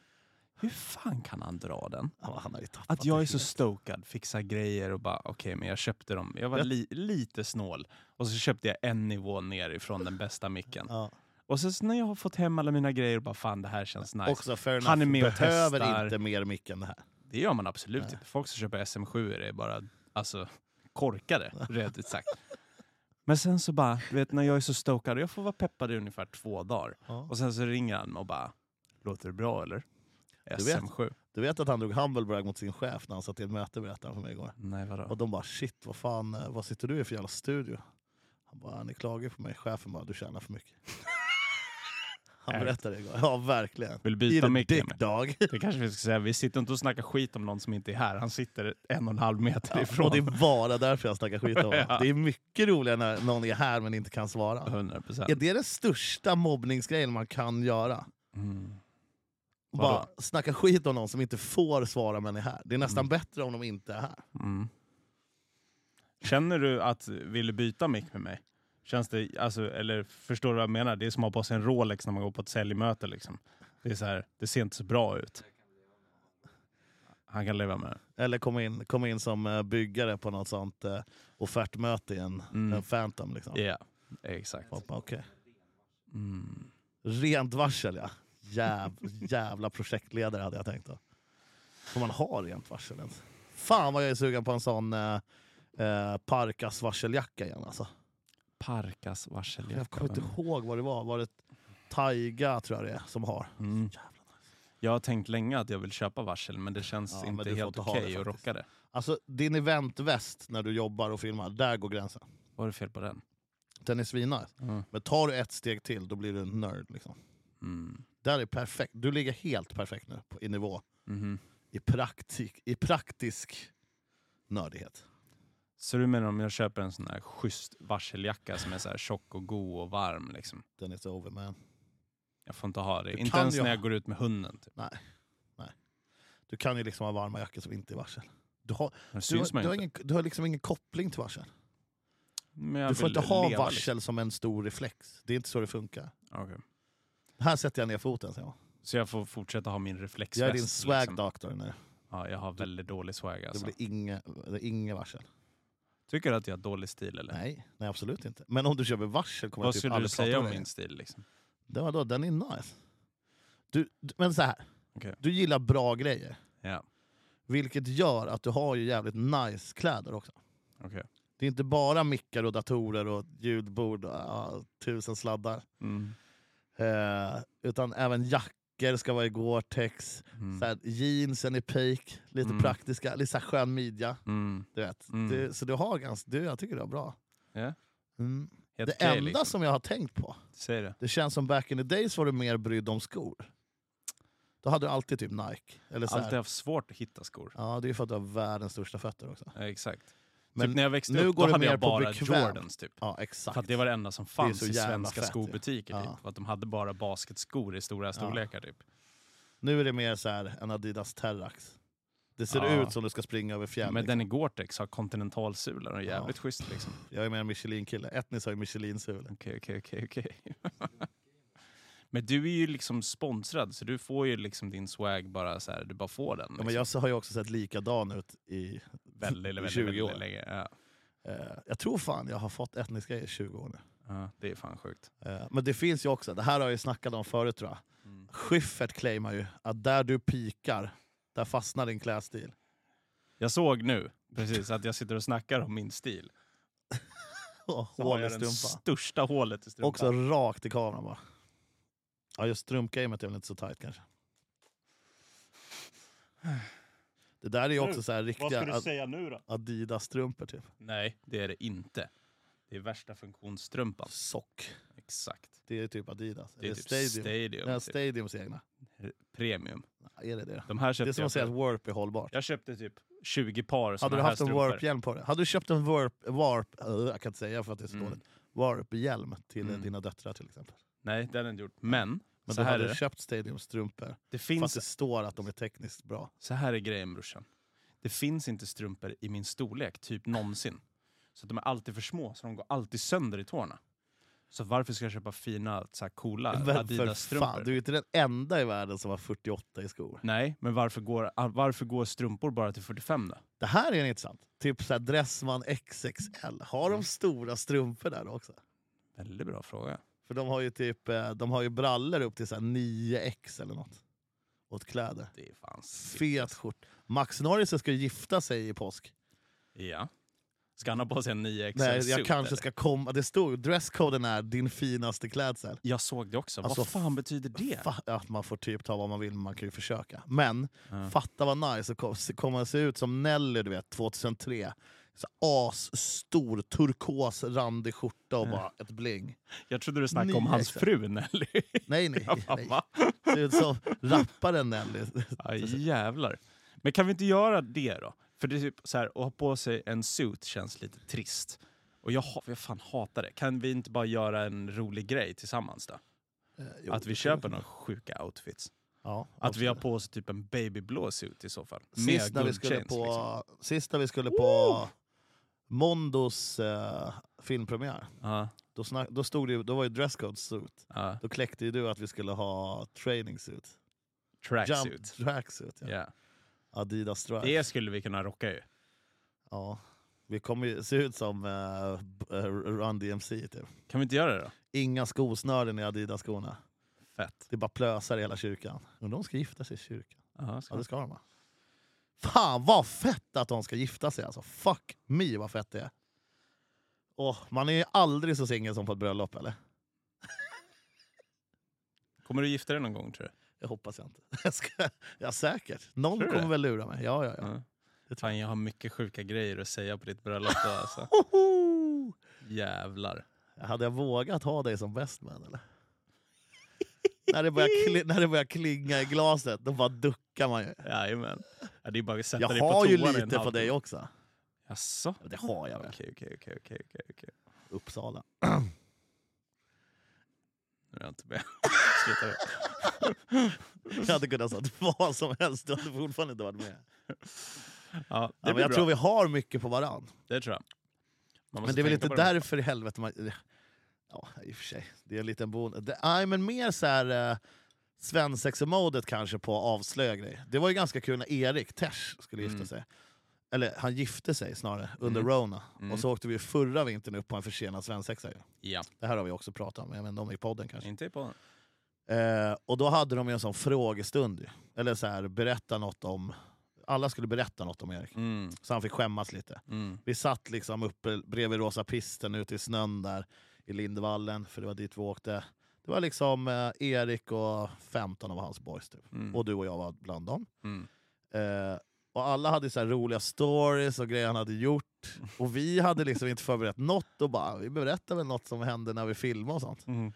Hur fan kan han dra den? Ja, Han har ju tappat Att jag det är så helt. stokad, fixar grejer och bara okej, men jag köpte dem. Jag var Jag- li- lite snål och så köpte jag en nivå ner ifrån den bästa micken. Ja. Och sen så när jag har fått hem alla mina grejer och bara fan det här känns nice. Också fair enough, Han är med och behöver testar. inte mer mick än det här. Det gör man absolut inte. Folk som köper SM7 är bara alltså, korkade, rätt ut sagt. Men sen så bara, du vet när jag är så stokad, jag får vara peppad i ungefär två dagar. Ja. Och sen så ringer han och bara, låter det bra eller? Du vet. SM7? Du vet att han drog humblebrag mot sin chef när han satt i ett möte berättade han för mig igår. Nej vadå? Och de bara shit, vad fan, eh, vad sitter du i för jävla studio? Han bara, ni klagar på mig. Chefen bara, du tjänar för mycket. Han Ärligt? berättade det igår. Ja, verkligen. Vill Eat byta a mick dick Emil? dog. Det kanske vi ska säga, vi sitter inte och snackar skit om någon som inte är här. Han sitter en och en halv meter ifrån. Och det är bara därför jag snackar skit om honom. Ja. Det är mycket roligare när någon är här men inte kan svara. 100 Är procent. det den största mobbningsgrejen man kan göra? Mm. Vadå? Bara snacka skit om någon som inte får svara men är här. Det är nästan bättre om de inte är här. Mm. Känner du att vill du byta mick med mig? Känns det, alltså, eller förstår du vad jag menar? Det är som att ha på sig en Rolex när man går på ett säljmöte. Liksom. Det, är så här, det ser inte så bra ut. Han kan leva med det. Eller komma in, komma in som eh, byggare på något sånt eh, offertmöte i en, Mm. en Phantom. Liksom. Ja, exakt. Och bara, okej. Mm. Rent varsel ja. Jäv, jävla projektledare hade jag tänkt då. Får man ha rent varsel ens? Fan vad jag är sugen på en sån eh, eh, Parkas varseljacka igen alltså. Parkas varseljacka. Jag kommer inte ihåg vad det var. Var det Taiga tror jag det är som har. Mm. Jävlar. Jag har tänkt länge att jag vill köpa varsel, men det känns Ja, men inte du får helt inte ha det okej att faktiskt. rocka det. Alltså din eventväst när du jobbar och filmar, där går gränsen. Vad är det fel på den? Den är svinnice. Mm. Men tar du ett steg till, då blir du en nörd. Liksom. Mm. Där är perfekt. Du ligger helt perfekt nu på, i nivå. Mhm. I, praktik, I praktisk nördighet. Så du menar om jag köper en sån här schysst varseljacka som är så här tjock och god och varm? Liksom. Den är over man. Jag får inte ha det. Du inte kan ens ju när ha- jag går ut med hunden. Typ. Du kan ju liksom ha varma jackor som inte är varsel. Du har, Det du, syns har, man du, ju har inte. ingen, du har liksom ingen koppling till varsel. Men jag Du får vill inte ha leva, varsel som en stor reflex. Det är inte så det funkar. Liksom. Okej. Här sätter jag ner foten. säger jag. Så jag får fortsätta ha min reflexväst? Jag är din swag liksom. doctor nu. Ja, jag har väldigt dålig swag Det alltså. blir inget inge varsel. Tycker du att jag har dålig stil eller? Nej, nej, absolut inte. Men om du köper varsel kommer Vad jag typ skulle du aldrig prata säga om dig. min stil? Liksom? Det var då, den är nice. Du, d- men så här. Okej. du gillar bra grejer. Ja, Vilket gör att du har ju jävligt nice kläder också. okej. Det är inte bara mickar och datorer och ljudbord och ja, tusen sladdar. Mm. Eh, utan även jackor ska vara i Gore-Tex. Mm. Så här, jeansen i peak, lite Mm. praktiska, lite så här skön midja. Mm. Du vet. Mm. Du, så du har ganska, du, jag tycker du har bra. Ja. Mm. Helt Det okej, enda liksom. som jag har tänkt på, Säg det. det känns som back in the days var du mer brydd om skor. Då hade du alltid typ Nike. Eller så här. Alltid haft svårt att hitta skor. Ja, det är ju för att du har världens största fötter också. Ja, exakt. Men typ när jag växte nu upp går då det hade mer jag på bara bekvämt. Jordans. Typ. Ja, För att exakt. det var det enda som fanns så i jävla svenska fett, ja. skobutiker. Ja. Typ. För att de hade bara basketskor i stora storlekar. Typ. Nu är det mer så här en Adidas Terrax. Det ser Ja. ut som du ska springa över fjäll. Men liksom. den i Gore-Tex har kontinentalsulor och är jävligt schysst. Liksom. Jag är mer en Michelin-kille. Etnis har ju Michelin-sulor. Okej, okej, okej. okej. Men du är ju liksom sponsrad så du får ju liksom din swag bara så här, du bara får den. Ja, Liksom. men jag har ju också sett likadan ut i... väldigt, väldigt, väldigt, 20 år. länge. Ja. Eh, jag tror fan jag har fått etniska grejer i 20 år nu. ja, det är fan sjukt. Eh, men det finns ju också, det här har jag ju snackat om förut tror jag. Mm. Schyffert claimar ju att där du pikar, där fastnar din klädstil. Jag såg nu precis att jag sitter och snackar om min stil. Och Så har hål i jag det strumpan. största hålet i strumpan. Också rakt i kameran bara. Ja, just strumpgamet är väl inte så tight kanske. Det där är ju också Nu, så här riktiga Ad- säga nu då? Adidas-strumpor typ. Nej, det är det inte. Det är värsta funktionsstrumpan. Sock. Exakt. Det är typ Adidas. Det är Eller typ Stadium. Stadium. Nej, typ. Stadiums egna. Premium. Nej, Är det det? De här Det köpte är som jag. att säga att för- Warp är hållbart. Jag köpte typ 20 par såna Hade du här haft en strumpor. Warp-hjälm på dig? Hade du köpt en Warp, warp eh, jag kan inte säga för att det är så Mm. dåligt, Warp-hjälm till eh, Mm. dina döttrar till exempel? Nej, det hade jag inte gjort. Men, Men så du här hade är det. köpt Stadium-strumpor Det fast finns, det står att de är tekniskt bra. så här är grejen brorsan. Det finns inte strumpor i min storlek, typ någonsin. Så att de är alltid för små, så de går alltid sönder i tårna. Så varför ska jag köpa fina, så här coola Men för Adidas-strumpor? fan, du är ju inte den enda i världen som har 48 i skor. Nej, men varför går, ah, varför går strumpor bara till 45 då? Det här är intressant. Typ så här Dressman XXL, har de stora strumpor där också? Väldigt bra fråga. För de har ju typ eh, de har ju brallor upp till så här 9X eller något. Åt kläder. Det är fan sick. Fet skjort. Max Norris ska ju gifta sig i påsk. Ja. Ska han ha på sig en 9 xl Nej, jag kanske ska komma. Det stod dresscoden är din finaste klädsel. Jag såg det också. Alltså, Vad fan betyder det? Fa- ja, man får typ ta vad man vill, men man kan ju försöka. Men Ja. fatta vad nice att kom- se- komma se ut som Nelly du vet, 2003. Så asstor turkos randig skjorta och bara ett bling. Jag trodde du snackade om hans 9XL. fru Nelly. Nej, nej. Jag bara, nej. va? Ser ut som rapparen Nelly. Aj, Alltså, jävlar. Men kan vi inte göra det då? För det är typ så här, att ha på sig en suit känns lite trist. Och jag, ha- jag fan hatar det. Kan vi inte bara göra en rolig grej tillsammans då? Eh, jo, att vi det- köper några sjuka outfits. Ja, Att vi har absolut. på oss typ en babyblå suit i så fall. Sist när, vi guldchains, skulle på, liksom. sist när vi skulle på Mondos eh, filmpremiär, Ja, då, snack, då, stod det, ju- då var ju dresscode suit. ja. Då kläckte ju du att vi skulle ha training suit. Tracksuit. tracksuit ja. Ja. Adidas Strike. Det skulle vi kunna rocka ju. Ja. Vi kommer ju se ut som eh, b- eh, Run DMC typ. Kan vi inte göra det då? Inga skosnören i Adidas-skorna. Fett. Det är bara plösar i hela kyrkan. Undrar om de ska gifta sig i kyrkan. Ja, Ja ska- det ska de va? Fan vad fett att de ska gifta sig alltså. Fuck me vad fett det är. Åh, man är ju aldrig så singel som på ett bröllop eller? Kommer du gifta dig någon gång tror du? Jag hoppas jag inte. Jag ska, ja, säkert. Någon Tror du kommer det? väl lura mig. Ja, ja, ja. Ja. Det tror Fan, jag har mycket sjuka grejer att säga på ditt bröllop. då, Alltså. Hoho! Jävlar. Hade jag vågat ha dig som bestman eller? när, det börjar kli- när det börjar klinga i glaset, då bara duckar man ju. Jajamän. Ja, det är bara att sätta Jag dig på har ju toan i en lite på halvtimme. dig också. Jaså? Ja, Det har jag väl. Okej, okej, okej, okej, okej, okej. Uppsala. Nu är jag inte med. Sluta det. Jag hade kunnat sagt vad som helst, du hade fortfarande inte varit med. Ja, det Ja, men blir jag bra. tror vi har mycket på varann. Det tror jag. Man måste Men det är väl tänka inte på det. därför i helvete man... Ja, i och för sig. Det är en liten bonus. Det- Nej, men mer så här... Eh, Svensexa-modet kanske på att avslöja grejer. Det var ju ganska kul när Erik Tesh skulle gifta Mm. sig. Eller han gifte sig snarare, under Mm. Rona. Mm. Och så åkte vi ju förra vintern upp på en försenad svensexa. ju. Ja, Det här har vi också pratat om, jag vet inte om i podden kanske. inte på den. Eh, och då hade de ju en sån frågestund. ju. Eller så här, berätta något om... Alla skulle berätta något om Erik. Mm, Så han fick skämmas lite. mm, Vi satt liksom uppe bredvid Rosa pisten ute i snön där i Lindvallen, för det var dit vi åkte. Det var liksom eh, Erik och 15 av hans boys typ. mm, Och du och jag var bland dem. mm. Eh, och alla hade så här roliga stories och grejer han hade gjort. Och vi hade liksom inte förberett något och bara, vi berättar väl något som hände när vi filmade och sånt. Mm,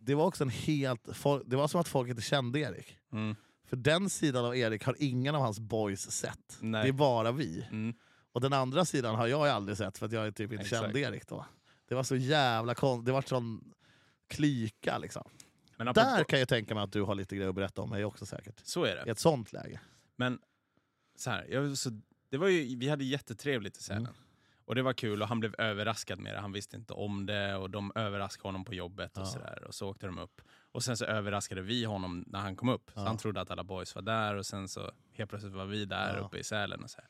Det var också en helt, folk- det var som att folk inte kände Erik. mm, För den sidan av Erik har ingen av hans boys sett. Nej. Det är bara vi. mm. Och den andra sidan har jag ju aldrig sett för att jag typ inte Exakt. kände Erik då. Det var så jävla konstigt, det var sån klyka liksom. Men Där apropå, kan jag tänka mig att du har lite grejer att berätta om mig också säkert. så är det. I ett sånt läge. Men så här, jag, var så, det var ju, vi hade jättetrevligt i Mm. Sälen. Och det var kul och han blev överraskad med det. Han visste inte om det och de överraskade honom på jobbet och Ja. sådär. Och så åkte de upp. Och sen så överraskade vi honom när han kom upp. Så Ja. han trodde att alla boys var där och sen så helt plötsligt var vi där Ja. uppe i Sälen och så här.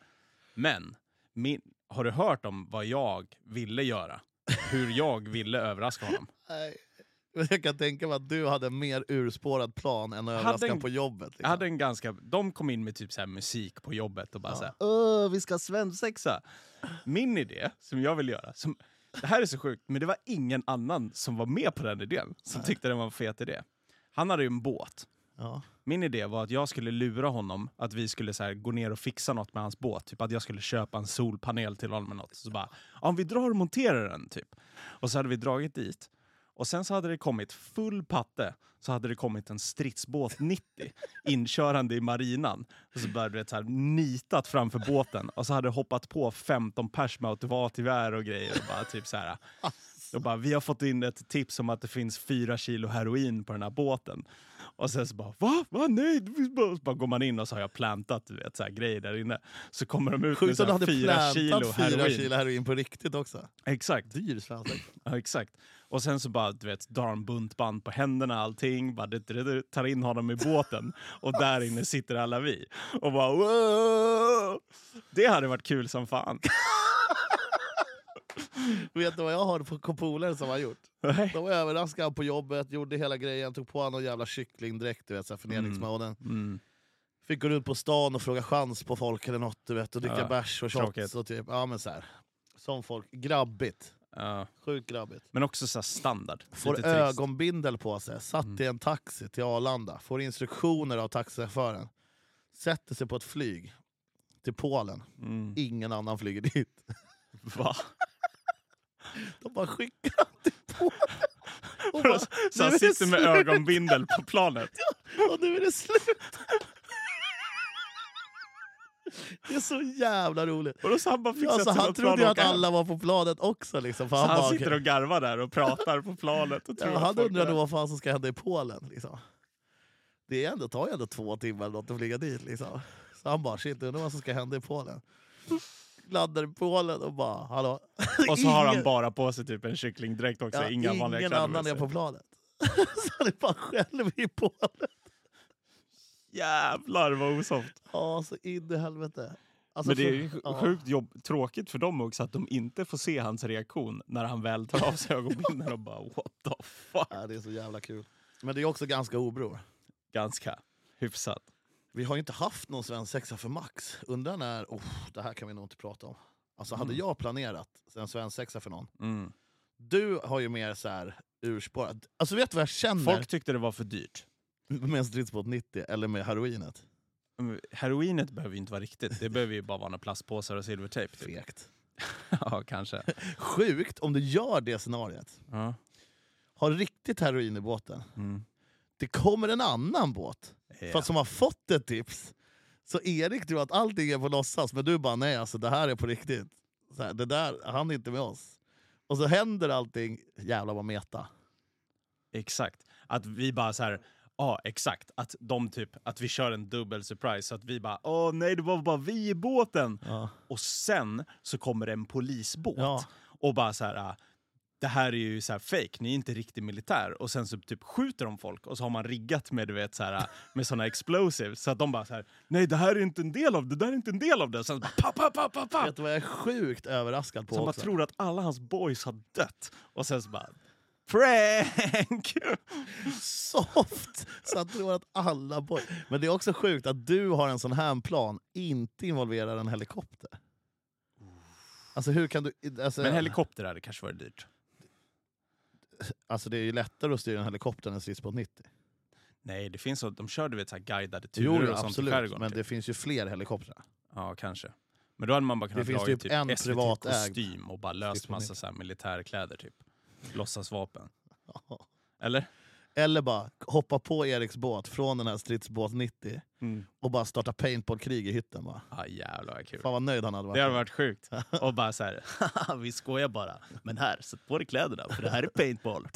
Men, min, har du hört om vad jag ville göra? Hur jag ville överraska honom? Nej. Men jag kan tänka mig att du hade en mer urspårad plan än att Hade överraska en- på jobbet. Jag Liksom. hade en ganska, de kom in med typ så här musik på jobbet och bara Ja. så här, Åh, vi ska ha svensexa. Min idé, som jag vill göra, som, det här är så sjukt, men det var ingen annan som var med på den idén som tyckte det var en fet idé. Han hade ju en båt. Ja. Min idé var att jag skulle lura honom att vi skulle så här, gå ner och fixa något med hans båt. Typ att jag skulle köpa en solpanel till honom eller något. Så bara, ja, om vi drar och monterar den typ. Och så hade vi dragit dit. Och sen så hade det kommit full patte, så hade det kommit en stridsbåt 90 inkörande i marinan. Och så bara du vet, så här, nitat framför båten och så hade det hoppat på 15 pers med automatgevär och grejer. Och bara typ så här, och bara, vi har fått in ett tips om att det finns fyra kilo heroin på den här båten. Och sen så bara, va? va? Nej! det finns bara-" Så bara går man in och så har jag plantat du vet, så här, grejer där inne. Så kommer de ut med Sjukt så att du här, hade fyra plantat kilo fyra heroin. kilo heroin på riktigt också. Exakt. Dyr svensk. Ja, exakt. Och sen så bara, du vet, drar han buntband på händerna allting, bara det, det, det, tar in honom i båten och där inne sitter alla vi. Och bara wow! Det hade varit kul som fan. Vet du vad jag har på- på polare som har gjort? Nej. De överraskade han på jobbet, gjorde hela grejen, tog på honom någon jävla kycklingdräkt, du vet, så här förnedringsmålen. Mm. Fick gå ut på stan och fråga chans på folk eller något, du vet, och dricka Ja, bärs och shots. tråkigt. Och typ, ja, men så här. Som folk. Grabbigt. Ja. Sjukt grabbigt. Men också så här standard. Får Lite trist. Mm. ögonbindel på sig, satt i en taxi till Arlanda, får instruktioner av taxichauffören. Sätter sig på ett flyg till Polen. Mm. Ingen annan flyger dit. Va? De bara skickar han till Polen. Och, bara, Så han Nu är det sitter med slut. ögonbindel på planet. och nu är det slut. Det är så jävla roligt. Och då så han bara fixat Alltså, sig han något trodde plan ju och att åka hem. alla var på planet också. Liksom, för Så han bara, han okej. sitter och garvar där och pratar på planet. Och tror Ja, att han folk är undrade där. vad fan som ska hända i Polen. Liksom. Det är ändå, tar ju ändå två timmar eller något att flyga dit. Liksom. Så han bara, shit, undrar vad som ska hända i Polen. Landar i Polen och bara, hallå? Och så har han Ingen- bara på sig typ en kycklingdräkt också. ja, Alltså, inga vanliga ingen kläder alltså. annan med är sig. på planet. så han är bara själv i Polen. Jävlar vad osoft. Ja, så in i helvete. Alltså, Men det är ju för- sj- sjukt jobb, tråkigt för dem också att de inte får se hans reaktion när han väl tar av sig ögonbindeln och bara what the fuck. Ja, det är så jävla kul. Men det är också ganska obror. Ganska hyfsat. Vi har ju inte haft någon svensexa för Max. Undrar när... Oh, det här kan vi nog inte prata om. Alltså hade Mm. jag planerat en svensexa för någon. Mm. Du har ju mer så här urspårat. Alltså vet du vad jag känner? Folk tyckte det var för dyrt. Med en stridsbåt 90 eller med heroinet. Mm, Heroinet behöver ju inte vara riktigt. Det behöver ju bara vara några plastpåsar och silvertejp. Typ. Fegt. ja, kanske. Sjukt om du gör det scenariet. Ja. Har riktigt heroin i båten. Mm. Det kommer en annan båt för Ja. att som har fått ett tips. Så Erik tror att allting är på låtsas, men du bara nej alltså det här är på riktigt. Så här, det där, han är inte med oss. Och så händer allting, jävlar vad meta. Exakt. Att vi bara så här, ja exakt. Att de typ, att vi kör en dubbel surprise. Så att vi bara, åh nej det var bara vi i båten. Ja. Och sen så kommer det en polisbåt. Ja. Och bara så här, ah, det här är ju så här fake, ni är inte riktig militär. Och sen så typ skjuter de folk och så har man riggat med du vet så här, ah, med såna explosives. Så att de bara så här, nej det här är inte en del av det, det där är inte en del av det. Och sen bara, pa, pa, pa, pa, pa. Vet du vad jag är sjukt överraskad på Så man också? tror att alla hans boys har dött. Och sen så bara, prank! Soft! Så han tror att alla boy. Men det är också sjukt att du har en sån här plan, inte involverar en helikopter. Alltså hur kan du... Alltså, Men helikopter hade kanske varit dyrt. alltså det är ju lättare att styra en helikopter än en stridsbåt 90. Nej, det finns så, de kör du vet så här guidade turer och sånt i skärgården. men typ. det finns ju fler helikoptrar. Ja, kanske. Men då hade man bara kunnat finns dra typ i typ en privatägd. SVT-kostym och bara löst Stridsvagn. massa så här militärkläder typ. Låtsasvapen. Eller? Eller bara hoppa på Eriks båt från den här stridsbåt 90 och bara starta paintballkrig i hytten. Bara. Ja, jävlar vad kul. Fan vad nöjd han hade varit. Det hade varit sjukt. Och bara så här, "Haha, vi skojar bara. Men här, sätt på dig kläderna för det här är paintball.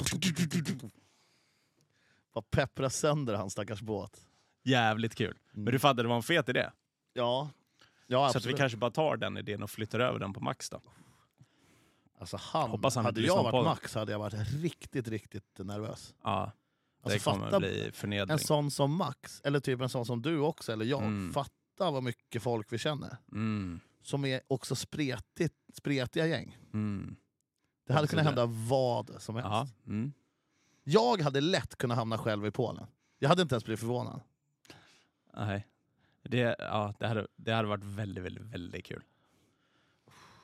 Bara peppra sönder hans stackars båt. Jävligt kul. Men du fattar, det var en fet idé. Ja, ja Så att vi Mm. absolut. kanske bara tar den idén och flyttar över den på Max då. Alltså han, Hoppas han hade inte lyssnar jag på varit det. Max hade jag varit riktigt, riktigt nervös. Ja, det Alltså, kommer fatta bli förnedring. En sån som Max, eller typ en sån som du också, eller jag. Mm. Fatta vad mycket folk vi känner. Mm, Som är också spretigt, spretiga gäng. mm. Det hade Alltså, kunnat det- hända vad som helst. Ja, mm. Jag hade lätt kunnat hamna själv i Polen. Jag hade inte ens blivit förvånad. Nej. Det, ja, det, hade, det hade varit väldigt, väldigt, väldigt kul.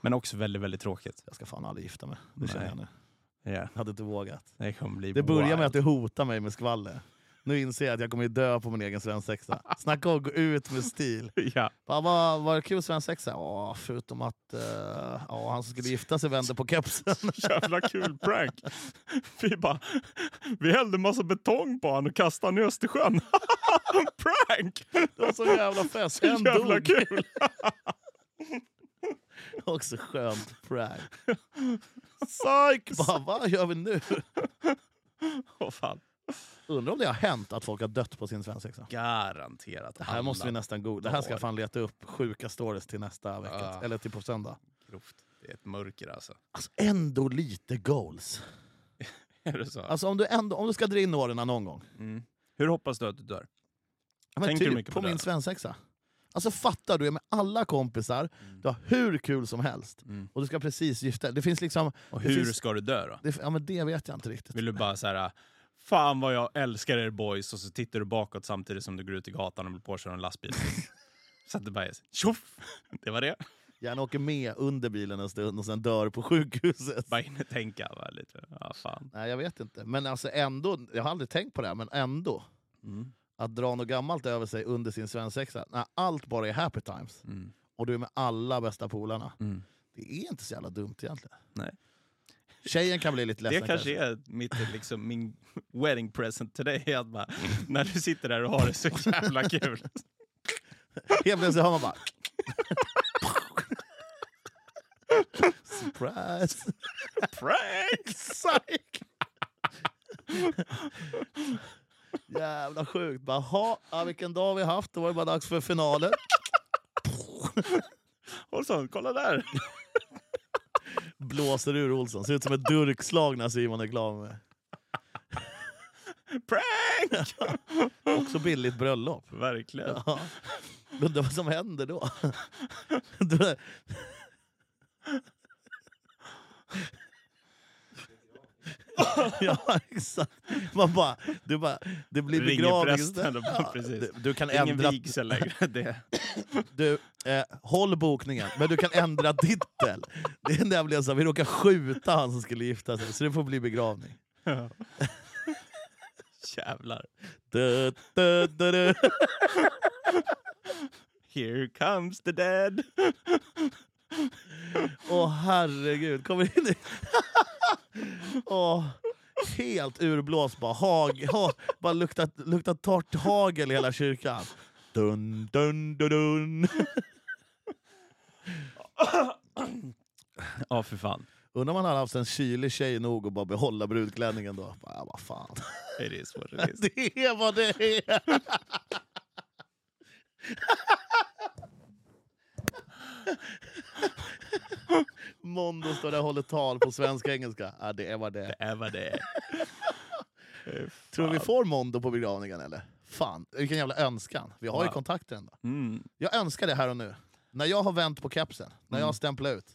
Men också väldigt, väldigt tråkigt. Jag ska fan aldrig gifta mig. Det känner Nej. jag nu. Ja, Jag hade inte vågat. det kommer bli Det börjar med att wild. du hotar mig med skvaller. Nu inser jag att jag kommer ju dö på min egen svensexa. Snacka om att gå ut med stil. Ja. Bara, vad var det kul svensexa? Ja, förutom att eh, ja, han som skulle gifta sig vände på kepsen. Jävla kul prank! Vi bara... Vi hällde massa betong på honom och kastade honom i Östersjön. prank! Det var så jävla fest. En Jävla dog. kul! Också skönt prank. Psyk! Bara, vad gör vi nu? Åh fan. Undrar om det har hänt att folk har dött på sin svensexa. Garanterat. Det här måste vi nästan googla. Det här ska jag fan leta upp. Sjuka stories till nästa vecka. Ah. Eller till på söndag. Grovt. Det är ett mörker alltså. Alltså ändå lite goals. Är det så? Alltså om du, ändå, om du ska dra in åren någon gång. Mm. Hur hoppas du att du dör? Ja, Men Tänker du typ mycket på, på det? min svensexa. Alltså fattar du, är med alla kompisar, du har hur kul som helst. Mm. Och du ska precis gifta dig. Det finns liksom... Och det hur finns- ska du dö då? Det, ja men det vet jag inte riktigt. Vill du bara så här, äh, fan vad jag älskar er boys och så tittar du bakåt samtidigt som du går ut i gatan och blir påkörd av en lastbil. så att det bara är så, tjoff! Det var det. Gärna åker med under bilen en stund och sen dör på sjukhuset. Bara hinner tänka bara lite. Ja, fan. Nej jag vet inte. Men alltså ändå, jag har aldrig tänkt på det här, men ändå. Mm. Att dra något gammalt över sig under sin svensexa, när allt bara är happy times. Mm. och du är med alla bästa polarna. Mm. Det är inte så jävla dumt egentligen. Nej. Tjejen kan bli lite Det ledsen kanske är mitt, liksom, min wedding present till dig. Att bara, när du sitter där och har det så jävla kul. Helt plötsligt hör man bara... Surprise! Prank! Psyk! Jävla sjukt. Bara, ha, ja, vilken dag vi haft. Då var det bara dags för finalen. Olsson, kolla där! Blåser ur Olsson. Ser ut som ett durkslag när Simon är klar med. Prank! Också billigt bröllop. Verkligen. Ja. Undrar vad som händer då? Då- ja, exakt. Man bara, du bara, det blir Ringer begravning. prästen och bara, Ja, precis. Du, du kan Ingen ändra... vigsel längre. Det. Du, eh, håll bokningen, men du kan ändra titel. Det är nämligen så, här, vi råkar skjuta han som skulle gifta sig, så det får bli begravning. Jävlar. Du, du, du, du. Here comes the dead. Åh herregud, kommer in i... Åh, helt urblåst bara. Hag, ha, bara luktat, luktat torrt hagel i hela kyrkan. Dun, dun, dun, dun. Ja, för fan. Undrar om han hade haft en kylig tjej nog att bara behålla brudklänningen då. Bara, ja, vad fan. It is what it is. Det är vad det är! Mondo står där och håller tal på svenska och engelska. Ja, det är vad det är. Det är vad det är. Fy Tror du vi fan. får Mondo på begravningen eller? Fan, vilken jävla önskan. Vi har ju Wow. kontakter ändå. Mm. Jag önskar det här och nu. När jag har vänt på kepsen, när jag har stämplat ut.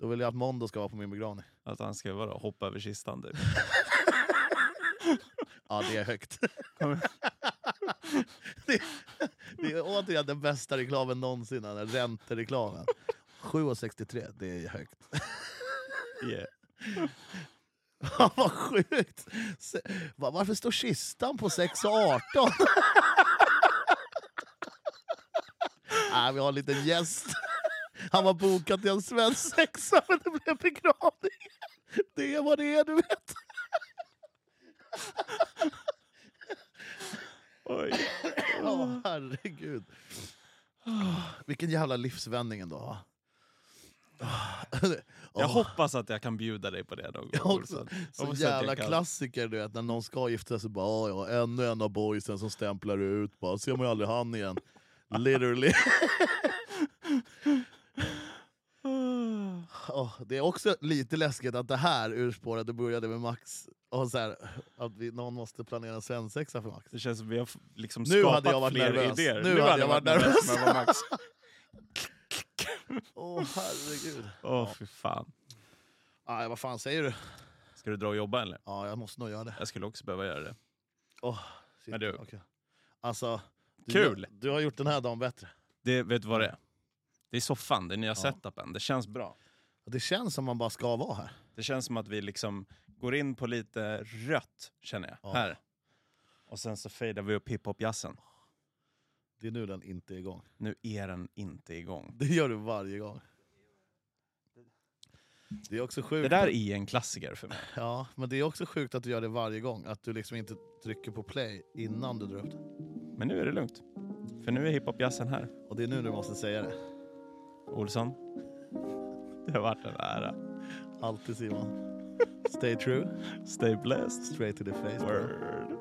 Då vill jag att Mondo ska vara på min begravning. Att han ska vara hoppa över kistan typ. Ja, det är högt. Kommer- det, det är återigen den bästa reklamen någonsin, den här räntereklamen. 7,63, det är högt. Yeah. Fan, Vad sjukt! Se- va- Varför står kistan på 6,18? Nej, vi har en liten gäst. Han var bokad till en svensk sexa, men det blev begravning. Det är vad det är, du vet. Oj. Ja, herregud. Vilken jävla livsvändning ändå. va? Jag Åh. hoppas att jag kan bjuda dig på det någon gång. Jag också. Olsson. Jag Så hoppas att jag jävla kan. klassiker du vet, när någon ska gifta sig. Bara, "Ja, ja, ännu en av boysen som stämplar ut. Bara, ser man ju aldrig han igen. Literally. Åh, det är också lite läskigt att det här urspårade började med Max. Och så här, att vi, någon måste planera en svensexa för Max. Det känns som vi har f- liksom Nu skapat hade jag varit fler nervös. idéer. Nu hade jag varit nervös. men vad Max. Åh herregud. Åh fy fan. Aj, vad fan säger du? Ska du dra och jobba eller? Ja, jag måste nog göra det. Jag skulle också behöva göra det. Åh, shit, Men du. okej. Alltså, du, Kul. Du har gjort den här dagen bättre. det vet du vad det är? Det är soffan, det är nya setupen. Det känns bra. Det känns som man bara ska vara här. Det känns som att vi liksom går in på lite rött, känner jag. Ja. Här. Och sen så fejdar vi upp hiphop-jazzen. Det är nu den inte är igång. Nu är den inte igång. Det gör du varje gång. Det är också sjukt. Det där är en klassiker för mig. Ja, men det är också sjukt att du gör det varje gång. Att du liksom inte trycker på play innan du drar upp det. Men nu är det lugnt. För nu är hiphop-jazzen här. Och det är nu du måste säga det. Olsson, det har varit en ära. Alltid Simon. Stay true, Stay blessed. straight to the face. bro. Word.